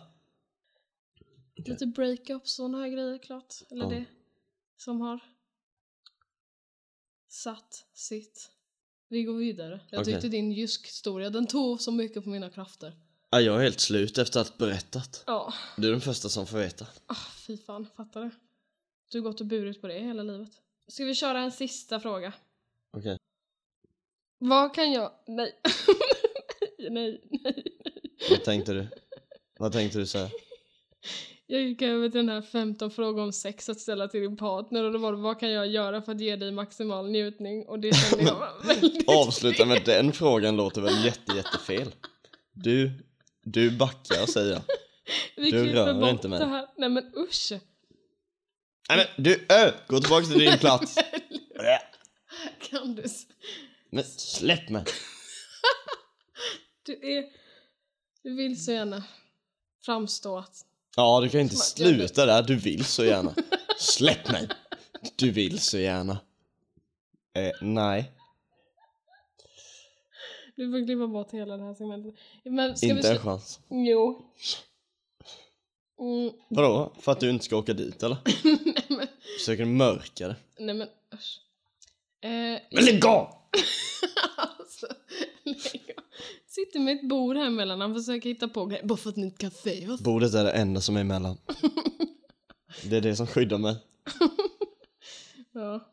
[SPEAKER 1] Lite breakups sådana här grejer klart. Eller
[SPEAKER 2] Ja.
[SPEAKER 1] det som har satt sitt. Vi går vidare. Jag
[SPEAKER 2] Okej.
[SPEAKER 1] tyckte din jysk historia, den tog så mycket på mina krafter.
[SPEAKER 2] Ja, jag är helt slut efter att ha berättat.
[SPEAKER 1] Ja,
[SPEAKER 2] Du är den första som får veta.
[SPEAKER 1] ah, fy fan, fattar du? Du har gått och burit på det hela livet. Ska vi köra en sista fråga?
[SPEAKER 2] Okej.
[SPEAKER 1] Vad kan jag... Nej. nej, <laughs> nej, nej.
[SPEAKER 2] Vad tänkte du? Vad tänkte du säga?
[SPEAKER 1] Jag gick över till den här 15 frågor om sex att ställa till din partner och då var det vad kan jag göra för att ge dig maximal njutning? Och det kände jag var
[SPEAKER 2] <laughs>
[SPEAKER 1] väldigt...
[SPEAKER 2] Avsluta med den frågan låter väl jätte, jättefel. Du, du backar säger jag.
[SPEAKER 1] Vi
[SPEAKER 2] Du
[SPEAKER 1] klipper
[SPEAKER 2] rör
[SPEAKER 1] bort
[SPEAKER 2] inte mig.
[SPEAKER 1] det här. Nej men usch.
[SPEAKER 2] Nej men du, ö! Gå tillbaka till din <laughs> plats. Ö!
[SPEAKER 1] Kan du? s-
[SPEAKER 2] Men släpp mig.
[SPEAKER 1] Du är... Du vill så gärna framstå att...
[SPEAKER 2] Ja, du kan ju inte
[SPEAKER 1] Som att jag
[SPEAKER 2] sluta där. Du vill så gärna. Släpp mig. Du vill så gärna. Eh, nej.
[SPEAKER 1] Du får klippa bort hela det här segmentet. Men ska vi...
[SPEAKER 2] inte en
[SPEAKER 1] slu-
[SPEAKER 2] chans.
[SPEAKER 1] Jo. Mm,
[SPEAKER 2] Vadå? För att du inte ska åka dit eller?
[SPEAKER 1] nej men...
[SPEAKER 2] Försöker du mörka det?
[SPEAKER 1] Nej men usch. Eh, <laughs>
[SPEAKER 2] Men lägg av!
[SPEAKER 1] alltså, lägg av. Sitter med ett bord här emellan, han försöker hitta på grejer. Bara för att ni inte kan se oss.
[SPEAKER 2] Bordet är det enda som är emellan. Det är det som skyddar mig.
[SPEAKER 1] Ja.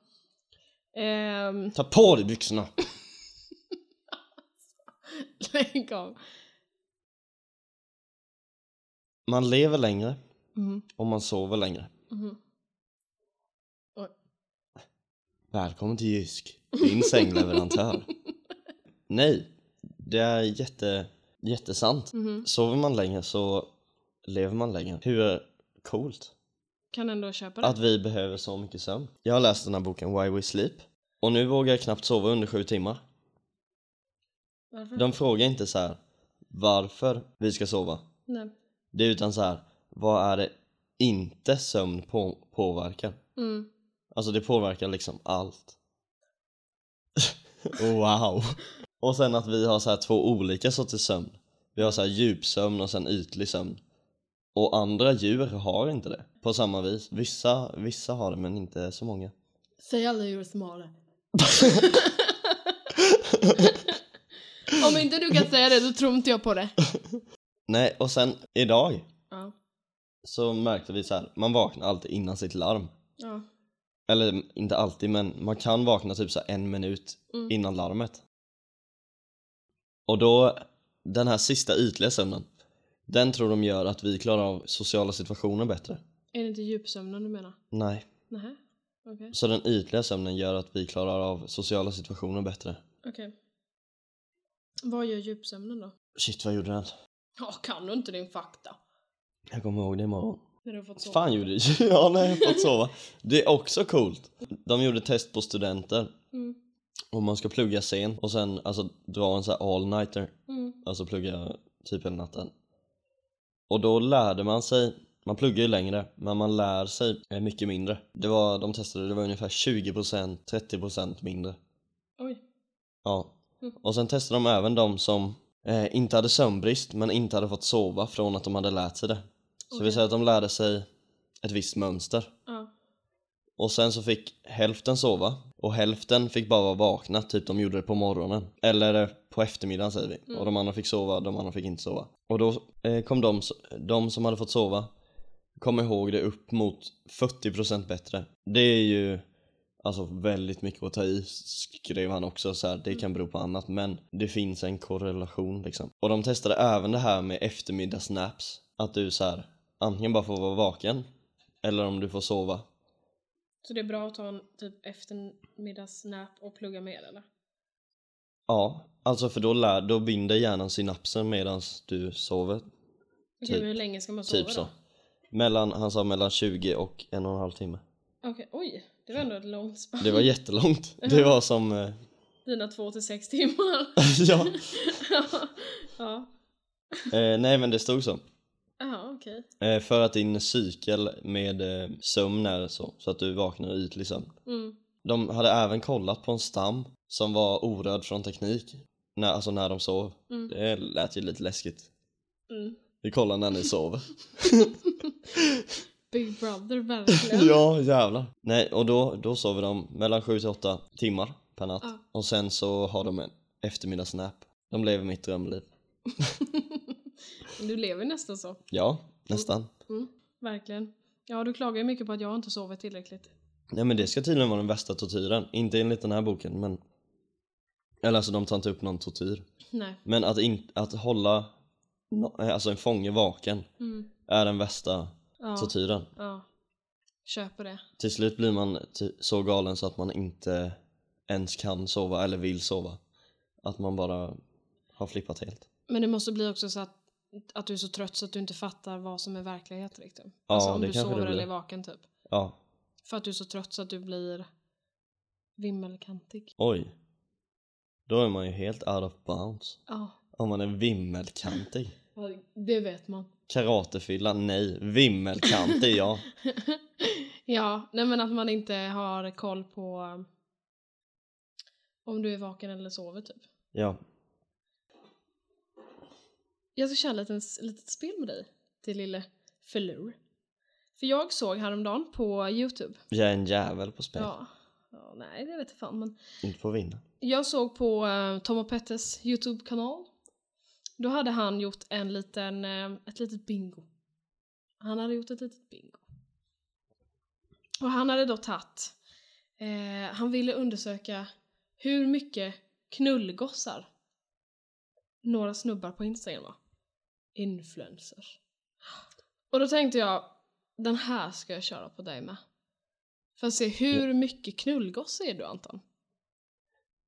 [SPEAKER 1] Ehm, <laughs>
[SPEAKER 2] Ta på dig byxorna!
[SPEAKER 1] lägg av.
[SPEAKER 2] Man lever längre
[SPEAKER 1] Mm,
[SPEAKER 2] och man sover längre.
[SPEAKER 1] mhm.
[SPEAKER 2] Välkommen till Jysk, din sängleverantör. Nej, det är jätte, jättesant.
[SPEAKER 1] mhm.
[SPEAKER 2] Sover man längre så lever man längre. Hur coolt
[SPEAKER 1] Kan ändå köpa det.
[SPEAKER 2] att vi behöver så mycket sömn. Jag har läst den här boken Why We Sleep och nu vågar jag knappt sova under sju timmar.
[SPEAKER 1] Varför?
[SPEAKER 2] De frågar inte så här varför vi ska sova.
[SPEAKER 1] Nej.
[SPEAKER 2] Det är utan så här, vad är det inte sömn på, påverkar?
[SPEAKER 1] Mm.
[SPEAKER 2] Alltså det påverkar liksom allt. <laughs> wow! Och sen att vi har så här två olika sorters sömn. Vi har så här djupsömn och sen ytlig sömn. Och andra djur har inte det på samma vis. Vissa, vissa har det men inte så många.
[SPEAKER 1] Säg alla djur som <laughs> har det. Om inte du kan säga det, då tror inte jag på det.
[SPEAKER 2] Nej, och sen idag
[SPEAKER 1] Ja.
[SPEAKER 2] så märkte vi så här, man vaknar alltid innan sitt larm.
[SPEAKER 1] Ja.
[SPEAKER 2] Eller inte alltid men man kan vakna typ så här en minut
[SPEAKER 1] Mm.
[SPEAKER 2] innan larmet. Och då, den här sista ytliga sömnen, den tror de gör att vi klarar av sociala situationer bättre.
[SPEAKER 1] Är det inte djupsömnen du menar?
[SPEAKER 2] Nej.
[SPEAKER 1] Nähä? Okej.
[SPEAKER 2] Så den ytliga sömnen gör att vi klarar av sociala situationer bättre.
[SPEAKER 1] Okej. Vad gör djupsömnen då?
[SPEAKER 2] Shit vad gjorde den?
[SPEAKER 1] Ja, kan du inte din fakta?
[SPEAKER 2] Jag kommer ihåg det imorgon.
[SPEAKER 1] När du har fått sova.
[SPEAKER 2] Fan gjorde <laughs> Ja, nej, jag har fått sova. Det är också coolt. De gjorde test på studenter.
[SPEAKER 1] Mm.
[SPEAKER 2] Om man ska plugga sen och sen alltså dra en sån här all-nighter.
[SPEAKER 1] Mm.
[SPEAKER 2] alltså plugga typ hela natten. Och då lärde man sig, man pluggar ju längre, men man lär sig eh, mycket mindre. Det var, de testade, det var ungefär 20%, 30% mindre.
[SPEAKER 1] Oj.
[SPEAKER 2] Ja.
[SPEAKER 1] Mm.
[SPEAKER 2] Och sen testade de även de som eh, inte hade sömnbrist men inte hade fått sova från att de hade lärt sig det. Så
[SPEAKER 1] Okej.
[SPEAKER 2] vi säger att de lärde sig ett visst mönster.
[SPEAKER 1] Ja.
[SPEAKER 2] Och sen så fick hälften sova och hälften fick bara vara vakna, typ de gjorde det på morgonen. Eller eh, på eftermiddagen säger vi.
[SPEAKER 1] Mm.
[SPEAKER 2] Och de andra fick sova, de andra fick inte sova. Och då eh, kom de, s- de som hade fått sova, kom ihåg det upp mot 40% bättre. Det är ju alltså väldigt mycket att ta i, skrev han också så här. det kan bero på annat men det finns en korrelation liksom. Och de testade även det här med eftermiddagsnaps, att du så här antingen bara får vara vaken eller om du får sova
[SPEAKER 1] Så det är bra att ta en typ eftermiddagsnap och plugga mer eller?
[SPEAKER 2] Ja, alltså för då, lär, då binder hjärnan synapsen medan du sover.
[SPEAKER 1] Okej,
[SPEAKER 2] Typ.
[SPEAKER 1] men hur länge ska man sova
[SPEAKER 2] Typ så.
[SPEAKER 1] då?
[SPEAKER 2] Mellan, han sa mellan 20 och en och en halv timme.
[SPEAKER 1] Okej, oj. Det var ändå ett långt spann.
[SPEAKER 2] Det var jättelångt. Det var som... eh, <laughs>
[SPEAKER 1] Dina två till sex timmar. <laughs>
[SPEAKER 2] ja.
[SPEAKER 1] ja.
[SPEAKER 2] Eh, nej men det stod så.
[SPEAKER 1] Ja, okej.
[SPEAKER 2] Eh, för att din cykel med eh, sömn är så, så att du vaknar i ytlig sömn.
[SPEAKER 1] Mm.
[SPEAKER 2] De hade även kollat på en stam som var orörd från teknik. När, alltså när de sov.
[SPEAKER 1] Mm.
[SPEAKER 2] Det lät ju lite läskigt.
[SPEAKER 1] Mm.
[SPEAKER 2] Vi kollar när ni sover.
[SPEAKER 1] Big Brother,
[SPEAKER 2] <laughs>
[SPEAKER 1] verkligen.
[SPEAKER 2] Ja, jävlar. Nej, och då, då sover de mellan 7 till 8 timmar per natt.
[SPEAKER 1] Ja.
[SPEAKER 2] Och sen så har de en eftermiddagsnap. De lever mitt drömliv.
[SPEAKER 1] Du lever ju nästan så.
[SPEAKER 2] Ja, nästan.
[SPEAKER 1] Mm. Verkligen. Ja, du klagar ju mycket på att jag inte sover tillräckligt.
[SPEAKER 2] Nej men det ska tydligen vara den värsta tortyren. Inte enligt den här boken, men... Eller alltså de tar inte upp någon tortyr.
[SPEAKER 1] Nej.
[SPEAKER 2] Men att, in, att hålla nå- eh, alltså en fånge vaken
[SPEAKER 1] Mm.
[SPEAKER 2] är den värsta
[SPEAKER 1] Ja.
[SPEAKER 2] tortyren.
[SPEAKER 1] ja. Köper det.
[SPEAKER 2] Till slut blir man ty- så galen så att man inte ens kan sova eller vill sova. Att man bara har flippat helt.
[SPEAKER 1] Men det måste bli också så att, att du är så trött så att du inte fattar vad som är verklighet riktigt.
[SPEAKER 2] Ja,
[SPEAKER 1] alltså om
[SPEAKER 2] det
[SPEAKER 1] du
[SPEAKER 2] kanske det
[SPEAKER 1] sover
[SPEAKER 2] blir.
[SPEAKER 1] eller är vaken typ.
[SPEAKER 2] Ja,
[SPEAKER 1] För att du är så trött så att du blir vimmelkantig.
[SPEAKER 2] oj. Då är man ju helt out of bounds.
[SPEAKER 1] Ja,
[SPEAKER 2] Om man är vimmelkantig.
[SPEAKER 1] det vet man.
[SPEAKER 2] Karatefylla, nej.
[SPEAKER 1] <laughs>
[SPEAKER 2] Vimmelkantig, ja.
[SPEAKER 1] ja, nej men att man inte har koll på um, om du är vaken eller sover typ.
[SPEAKER 2] Ja.
[SPEAKER 1] Jag ska köra ett litet, litet spel med dig, till lille förlur. För jag såg häromdagen på Youtube.
[SPEAKER 2] Jag är en jävel på spel.
[SPEAKER 1] Ja. ja. Nej, det vet jag fan men.
[SPEAKER 2] Inte på att vinna.
[SPEAKER 1] Jag såg på eh, Tom och Petters Youtube-kanal Då hade han gjort en liten, eh, ett litet bingo. Han hade gjort ett litet bingo. Och han hade då tagit, eh, han ville undersöka hur mycket knullgossar några snubbar på Instagram var. Influencers. Och då tänkte jag, den här ska jag köra på dig med. För att se hur mycket knullgosse är du Anton?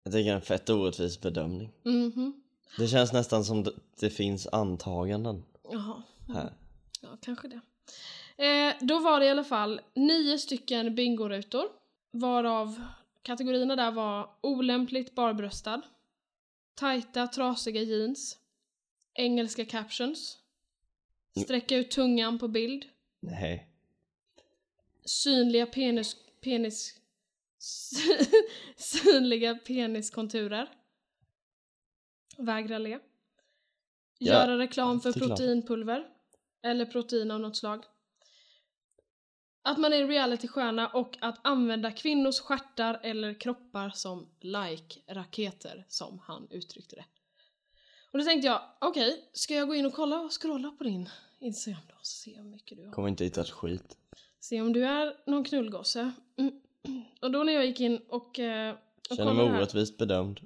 [SPEAKER 2] Jag tycker det är en fett orättvis bedömning.
[SPEAKER 1] Mhm.
[SPEAKER 2] Det känns nästan som det, det finns antaganden
[SPEAKER 1] Jaha. Mm.
[SPEAKER 2] här.
[SPEAKER 1] Ja, kanske det. Eh, då var det i alla fall nio stycken bingorutor. Varav kategorierna där var olämpligt barbröstad, tajta trasiga jeans, engelska captions, sträcka ut tungan på bild,
[SPEAKER 2] Nej.
[SPEAKER 1] synliga penis... penis <laughs> sy- synliga peniskonturer. Vägra le.
[SPEAKER 2] Ja,
[SPEAKER 1] Göra reklam för
[SPEAKER 2] det är klart.
[SPEAKER 1] proteinpulver. Eller protein av något slag. Att man är en realitystjärna och att använda kvinnors stjärtar eller kroppar som like-raketer, som han uttryckte det. Och då tänkte jag, okej, ska jag gå in och kolla och scrolla på din Instagram då och se hur mycket du har?
[SPEAKER 2] Kommer inte hitta ett skit.
[SPEAKER 1] Se om du är någon knullgosse. Mm. Och då när jag gick in och... eh, och
[SPEAKER 2] Känner
[SPEAKER 1] kollade
[SPEAKER 2] mig
[SPEAKER 1] här- <laughs>
[SPEAKER 2] orättvist bedömd.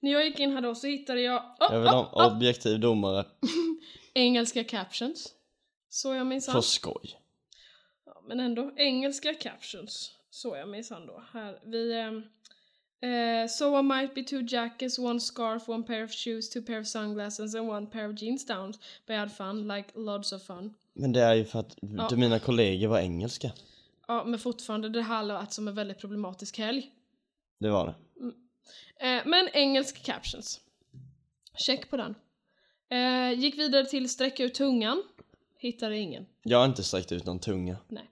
[SPEAKER 1] När jag gick in här då så hittade jag... Oh,
[SPEAKER 2] Jag vill ha en
[SPEAKER 1] <laughs>
[SPEAKER 2] objektiv domare.
[SPEAKER 1] engelska captions. Så jag
[SPEAKER 2] För
[SPEAKER 1] minsann.
[SPEAKER 2] skoj.
[SPEAKER 1] Ja, men ändå, engelska captions. Så jag minsann då. Här, vi... ehm, eh, so I might be two jackets, one scarf, one pair of shoes, two pair of sunglasses and one pair of jeans down. But I had fun, like lots of fun.
[SPEAKER 2] Men det är ju för att
[SPEAKER 1] Ja.
[SPEAKER 2] mina kollegor var engelska.
[SPEAKER 1] Ja, men fortfarande, det här lät som en väldigt problematisk helg.
[SPEAKER 2] Det var det.
[SPEAKER 1] Eh, men engelsk captions. Check på den. Eh, gick vidare till sträcka ut tungan. Hittade ingen.
[SPEAKER 2] Jag har inte sträckt ut någon tunga.
[SPEAKER 1] Nej.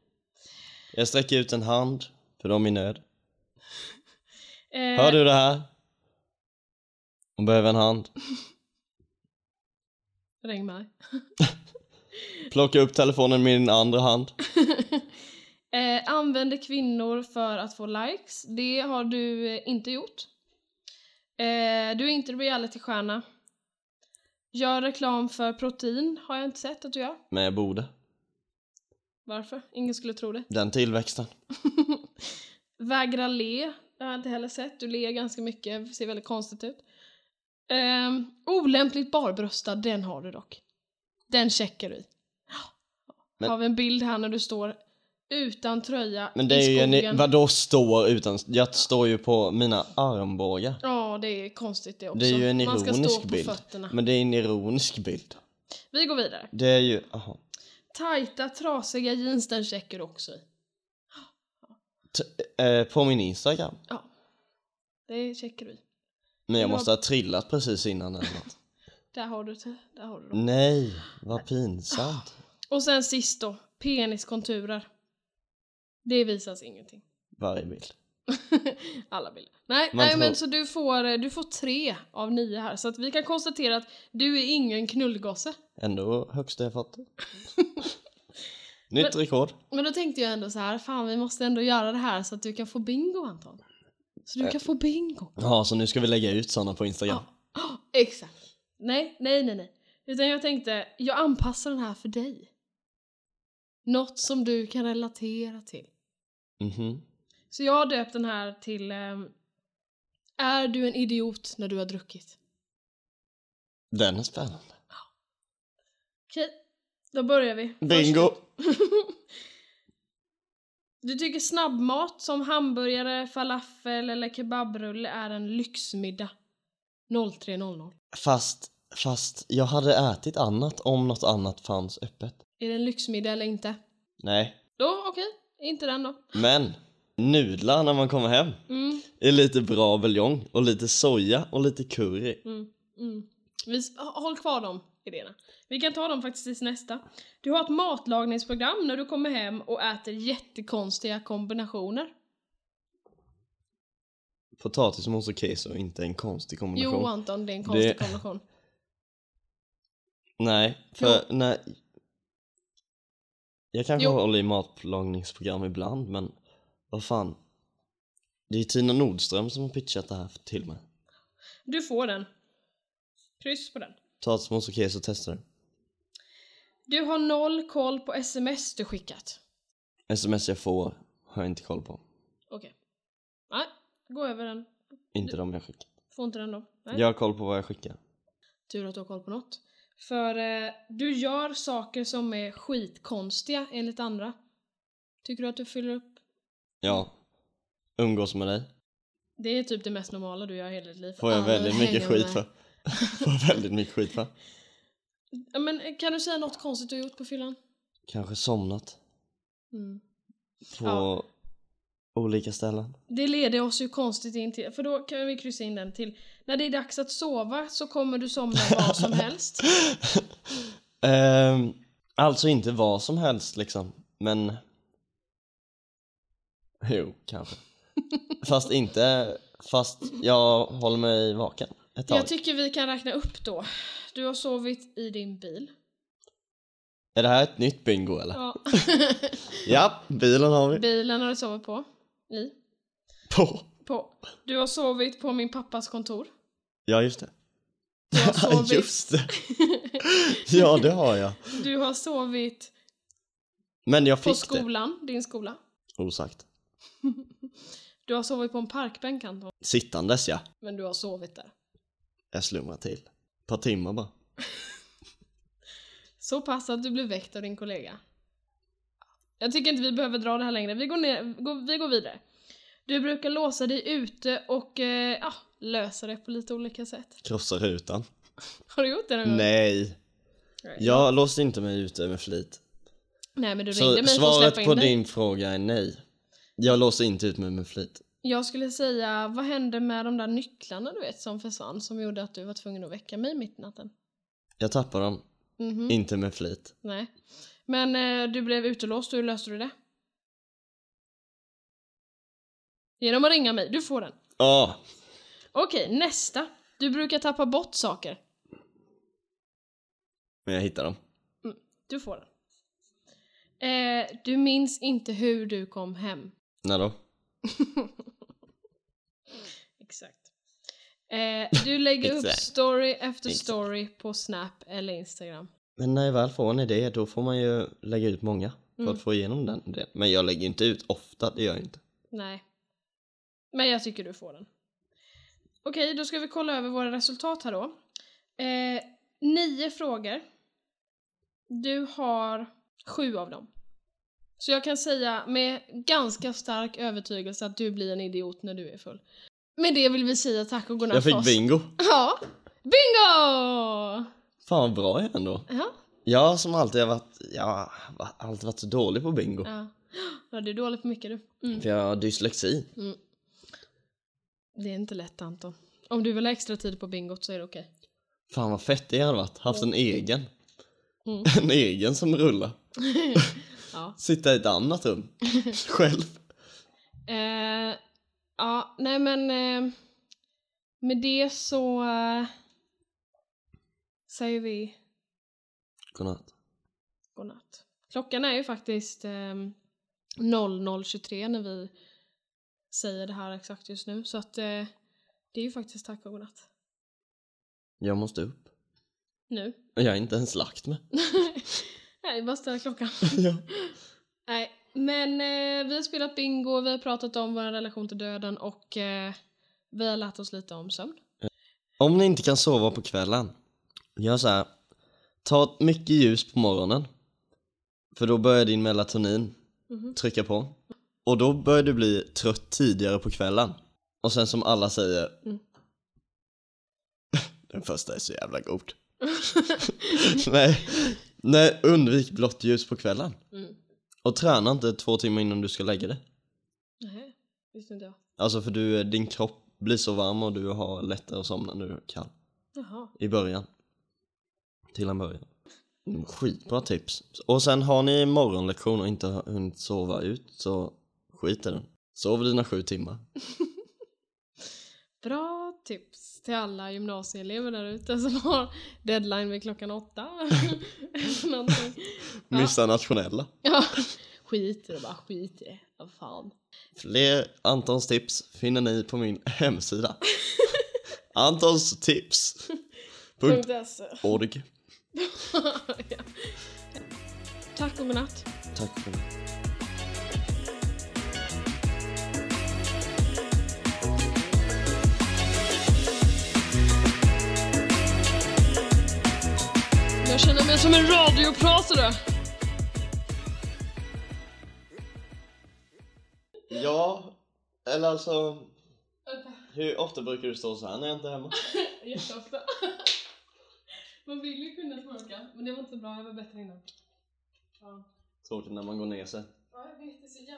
[SPEAKER 2] Jag sträcker ut en hand för dem i nöd.
[SPEAKER 1] Eh,
[SPEAKER 2] Hör du det här? Hon behöver en hand.
[SPEAKER 1] Ring mig.
[SPEAKER 2] Plocka upp telefonen med din andra hand.
[SPEAKER 1] <laughs> eh, använder kvinnor för att få likes. Det har du eh, inte gjort. Eh, du är inte reality-stjärna. Gör reklam för protein har jag inte sett att du gör.
[SPEAKER 2] Men jag borde.
[SPEAKER 1] Varför? Ingen skulle tro det.
[SPEAKER 2] Den tillväxten.
[SPEAKER 1] Vägra le. Det har jag inte heller sett. Du ler ganska mycket, ser väldigt konstigt ut. Um, olämpligt barbröstad, den har du dock. Den checkar du i.
[SPEAKER 2] Men-
[SPEAKER 1] har vi en bild här när du står utan tröja
[SPEAKER 2] Men det är
[SPEAKER 1] i
[SPEAKER 2] ju
[SPEAKER 1] skogen.
[SPEAKER 2] en... Vadå står utan... Jag står ju på mina armbågar.
[SPEAKER 1] Ja, det är konstigt det också.
[SPEAKER 2] Det är ju en
[SPEAKER 1] Man ska
[SPEAKER 2] ironisk
[SPEAKER 1] stå
[SPEAKER 2] bild.
[SPEAKER 1] på fötterna.
[SPEAKER 2] Men det är en ironisk bild.
[SPEAKER 1] Vi går vidare.
[SPEAKER 2] Det är ju... Aha.
[SPEAKER 1] Tajta, trasiga jeans, den checkar du också i.
[SPEAKER 2] T- eh, på min Instagram.
[SPEAKER 1] Ja, det checkar du i.
[SPEAKER 2] Men jag
[SPEAKER 1] Du har-
[SPEAKER 2] måste ha trillat precis innan eller något.
[SPEAKER 1] Där har du, det. där har du
[SPEAKER 2] Mm.
[SPEAKER 1] dem.
[SPEAKER 2] Nej, vad pinsamt.
[SPEAKER 1] Och sen sist då, peniskonturer. Det visas ingenting.
[SPEAKER 2] Varje bild.
[SPEAKER 1] Alla bilder. Nej,
[SPEAKER 2] Man
[SPEAKER 1] nej men
[SPEAKER 2] tror-
[SPEAKER 1] så du får, eh, du får tre av nio här. Så att vi kan konstatera att du är ingen knullgosse.
[SPEAKER 2] Ändå högsta
[SPEAKER 1] <laughs>
[SPEAKER 2] jag fått. Nytt rekord.
[SPEAKER 1] Men då tänkte jag ändå så här, fan vi måste ändå göra det här så att du kan få bingo Anton. Så du
[SPEAKER 2] Ä-
[SPEAKER 1] kan få bingo.
[SPEAKER 2] Ja, så nu ska vi lägga ut sådana på Instagram.
[SPEAKER 1] Ah, <gasps> exakt. Nej, nej, nej, nej. Utan jag tänkte, jag anpassar den här för dig. Något som du kan relatera till.
[SPEAKER 2] Mhm.
[SPEAKER 1] Så jag har döpt den här till ehm, Är du en idiot när du har druckit?
[SPEAKER 2] Den är spännande.
[SPEAKER 1] Okej, då börjar vi.
[SPEAKER 2] Bingo!
[SPEAKER 1] Du tycker snabbmat som hamburgare, falafel eller kebabrulle är en lyxmiddag. 03.00.
[SPEAKER 2] Fast, fast jag hade ätit annat om något annat fanns öppet.
[SPEAKER 1] Är det en lyxmiddag eller inte?
[SPEAKER 2] Nej,
[SPEAKER 1] Då, okej. Inte den då.
[SPEAKER 2] men nudlar när man kommer hem
[SPEAKER 1] Mm,
[SPEAKER 2] är lite bra buljong och lite soja och lite curry.
[SPEAKER 1] mm, mm. Vi, s- h- håll kvar de idéerna. Vi kan ta dem faktiskt i nästa. Du har ett matlagningsprogram när du kommer hem och äter jättekonstiga kombinationer.
[SPEAKER 2] Potatismos och keso är inte en konstig kombination.
[SPEAKER 1] Jo Anton, det är en konstig
[SPEAKER 2] Det-
[SPEAKER 1] kombination.
[SPEAKER 2] Nej, för nej. Jag kanske
[SPEAKER 1] Jo.
[SPEAKER 2] håller i matlagningsprogram ibland men vad fan. Det är Tina Nordström som har pitchat det här till mig.
[SPEAKER 1] Du får den. Kryss på den.
[SPEAKER 2] Ta ett småsokej så testar du.
[SPEAKER 1] Du har noll koll på sms du skickat.
[SPEAKER 2] Sms jag får har jag inte koll på.
[SPEAKER 1] Okej. Nej, gå över den.
[SPEAKER 2] Inte de jag skickar.
[SPEAKER 1] Får inte den då. Nej.
[SPEAKER 2] Jag har koll på vad jag skickar.
[SPEAKER 1] Tur att du har koll på något. För eh, du gör saker som är skitkonstiga enligt andra. Tycker du att du fyller upp?
[SPEAKER 2] Ja.
[SPEAKER 1] Mm.
[SPEAKER 2] Umgås med dig.
[SPEAKER 1] Det är typ det mest normala du gör i hela ditt liv.
[SPEAKER 2] Får jag
[SPEAKER 1] Alla
[SPEAKER 2] väldigt mycket
[SPEAKER 1] hänger
[SPEAKER 2] skit
[SPEAKER 1] med. <laughs>
[SPEAKER 2] för. får jag väldigt mycket skit för.
[SPEAKER 1] Ja, Men eh, kan du säga något konstigt du har gjort på fyllan?
[SPEAKER 2] Kanske somnat.
[SPEAKER 1] Mm.
[SPEAKER 2] På
[SPEAKER 1] Ja.
[SPEAKER 2] olika ställen.
[SPEAKER 1] Det leder oss ju konstigt in till, för då kan vi kryssa in den till När det är dags att sova så kommer du somna vad
[SPEAKER 2] <laughs>
[SPEAKER 1] som helst.
[SPEAKER 2] Ehm, alltså inte vad som helst liksom, men... Jo, kanske. fast inte... Fast jag håller mig vaken ett tag.
[SPEAKER 1] Jag tycker vi kan räkna upp då. Du har sovit i din bil.
[SPEAKER 2] Är det här ett nytt bingo eller? Ja,
[SPEAKER 1] Ja.
[SPEAKER 2] bilen har
[SPEAKER 1] <laughs>
[SPEAKER 2] vi.
[SPEAKER 1] Bilen har du sovit på. I.
[SPEAKER 2] På.
[SPEAKER 1] På. Du har sovit på min pappas kontor.
[SPEAKER 2] Ja, just det.
[SPEAKER 1] Du
[SPEAKER 2] <laughs>
[SPEAKER 1] har sovit,
[SPEAKER 2] just det. ja, det har jag.
[SPEAKER 1] du har sovit
[SPEAKER 2] Men jag
[SPEAKER 1] på
[SPEAKER 2] fick det.
[SPEAKER 1] skolan, din skola.
[SPEAKER 2] Osagt.
[SPEAKER 1] Du har sovit på en parkbänk Anton.
[SPEAKER 2] Sittandes ja.
[SPEAKER 1] Men du har sovit där.
[SPEAKER 2] Jag slumrar till. Ett par timmar bara.
[SPEAKER 1] Så pass att du blev väckt av din kollega. Jag tycker inte vi behöver dra det här längre. Vi går, ner, går, vi går vidare. Du brukar låsa dig ute och eh, ja, lösa det på lite olika sätt.
[SPEAKER 2] Krossar rutan.
[SPEAKER 1] Har du gjort det någon gång?
[SPEAKER 2] Nej.
[SPEAKER 1] Nej.
[SPEAKER 2] Jag låste inte mig ute med flit.
[SPEAKER 1] Nej men du
[SPEAKER 2] Så
[SPEAKER 1] ringde mig för att släppa
[SPEAKER 2] svaret
[SPEAKER 1] in
[SPEAKER 2] på
[SPEAKER 1] dig.
[SPEAKER 2] din fråga är nej. Jag låser inte ut mig med flit.
[SPEAKER 1] Jag skulle säga, vad hände med de där nycklarna du vet som försvann som gjorde att du var tvungen att väcka mig mitt i natten?
[SPEAKER 2] Jag tappar dem,
[SPEAKER 1] Mhm,
[SPEAKER 2] inte med flit.
[SPEAKER 1] nej. Men eh, du blev utelåst, hur löste du det? Genom att ringa mig, du får den.
[SPEAKER 2] Ja,
[SPEAKER 1] Okej, nästa. Du brukar tappa bort saker.
[SPEAKER 2] men jag hittar dem.
[SPEAKER 1] Du får den. Eh, du minns inte hur du kom hem.
[SPEAKER 2] När då?
[SPEAKER 1] Exakt. Eh, du lägger upp
[SPEAKER 2] Exakt.
[SPEAKER 1] story efter
[SPEAKER 2] Exakt.
[SPEAKER 1] story på Snap eller Instagram.
[SPEAKER 2] Men när jag väl får en idé, då får man ju lägga ut många för
[SPEAKER 1] Mm.
[SPEAKER 2] att få igenom den idén. Men jag lägger inte ut ofta, det gör jag inte.
[SPEAKER 1] Nej. Men jag tycker du får den. Okej, då ska vi kolla över våra resultat här då. Eh, nio frågor. Du har sju av dem. Så jag kan säga med ganska stark övertygelse att du blir en idiot när du är full. Med det vill vi säga tack och godnatt
[SPEAKER 2] Jag
[SPEAKER 1] för
[SPEAKER 2] fick
[SPEAKER 1] oss.
[SPEAKER 2] bingo!
[SPEAKER 1] Ja! Bingo!
[SPEAKER 2] Fan vad bra jag är ändå.
[SPEAKER 1] Ja.
[SPEAKER 2] Jag som alltid har varit, jag har va- alltid varit så dålig på bingo.
[SPEAKER 1] Ja. ja, du är dålig på mycket du. Mm.
[SPEAKER 2] För jag har dyslexi.
[SPEAKER 1] Det är inte lätt Anton. Om du vill ha extra tid på bingot så är det okej.
[SPEAKER 2] Fan vad fett det hade varit, haft en egen.
[SPEAKER 1] Mm.
[SPEAKER 2] <laughs> En egen som rullar.
[SPEAKER 1] Ja.
[SPEAKER 2] Sitta i ett
[SPEAKER 1] <laughs>
[SPEAKER 2] annat rum. Själv.
[SPEAKER 1] Eh, ja, nej men eh, med det så eh, säger vi
[SPEAKER 2] Godnatt.
[SPEAKER 1] godnatt. Klockan är ju faktiskt eh, 00.23 när vi säger det här exakt just nu så att eh, det är ju faktiskt tack och godnatt.
[SPEAKER 2] Jag måste upp.
[SPEAKER 1] Nu.
[SPEAKER 2] Jag är inte ens lagt <laughs> mig.
[SPEAKER 1] nej, bara ställa klockan.
[SPEAKER 2] ja.
[SPEAKER 1] nej, men eh, vi har spelat bingo, vi har pratat om vår relation till döden och eh, vi har lärt oss lite om sömn.
[SPEAKER 2] Om ni inte kan sova på kvällen, gör så här. Ta ett mycket ljus på morgonen. För då börjar din melatonin
[SPEAKER 1] Mhm.
[SPEAKER 2] trycka på. Och då börjar du bli trött tidigare på kvällen. Och sen som alla säger.
[SPEAKER 1] Mm.
[SPEAKER 2] <laughs> Den första är så jävla god. <laughs> Nej. Nej, undvik blått ljus på kvällen.
[SPEAKER 1] Mm.
[SPEAKER 2] Och träna inte två timmar innan du ska lägga dig.
[SPEAKER 1] Nej, visste inte jag.
[SPEAKER 2] Alltså för du, din kropp blir så varm och du har lättare att somna när du är kall.
[SPEAKER 1] Jaha.
[SPEAKER 2] I början. Till en början. Mm, Skitbra tips. Och sen har ni morgonlektion och inte har hunnit sova ut så skit i den. Sov dina sju timmar.
[SPEAKER 1] Bra tips till alla gymnasieelever där ute som har deadline vid klockan åtta. Eller någonting. Ja.
[SPEAKER 2] Missa nationella.
[SPEAKER 1] ja. Skit i det bara, skit i det. Vad fan.
[SPEAKER 2] Fler Antons <laughs> tips finner ni på min hemsida. Antons tips. Punkt.
[SPEAKER 1] .se.
[SPEAKER 2] Org.
[SPEAKER 1] ja. Tack och godnatt.
[SPEAKER 2] Tack för mig.
[SPEAKER 1] Jag känner mig som en radiopratare.
[SPEAKER 2] Ja, eller alltså... Hur ofta brukar du stå så här när jag inte är hemma?
[SPEAKER 1] Jätteofta. Man vill ju kunna snorka, men det var inte så bra. Jag var bättre innan. Ja.
[SPEAKER 2] Tråkigt när man går ner sig.
[SPEAKER 1] Ja, jag vet. Det är så jävla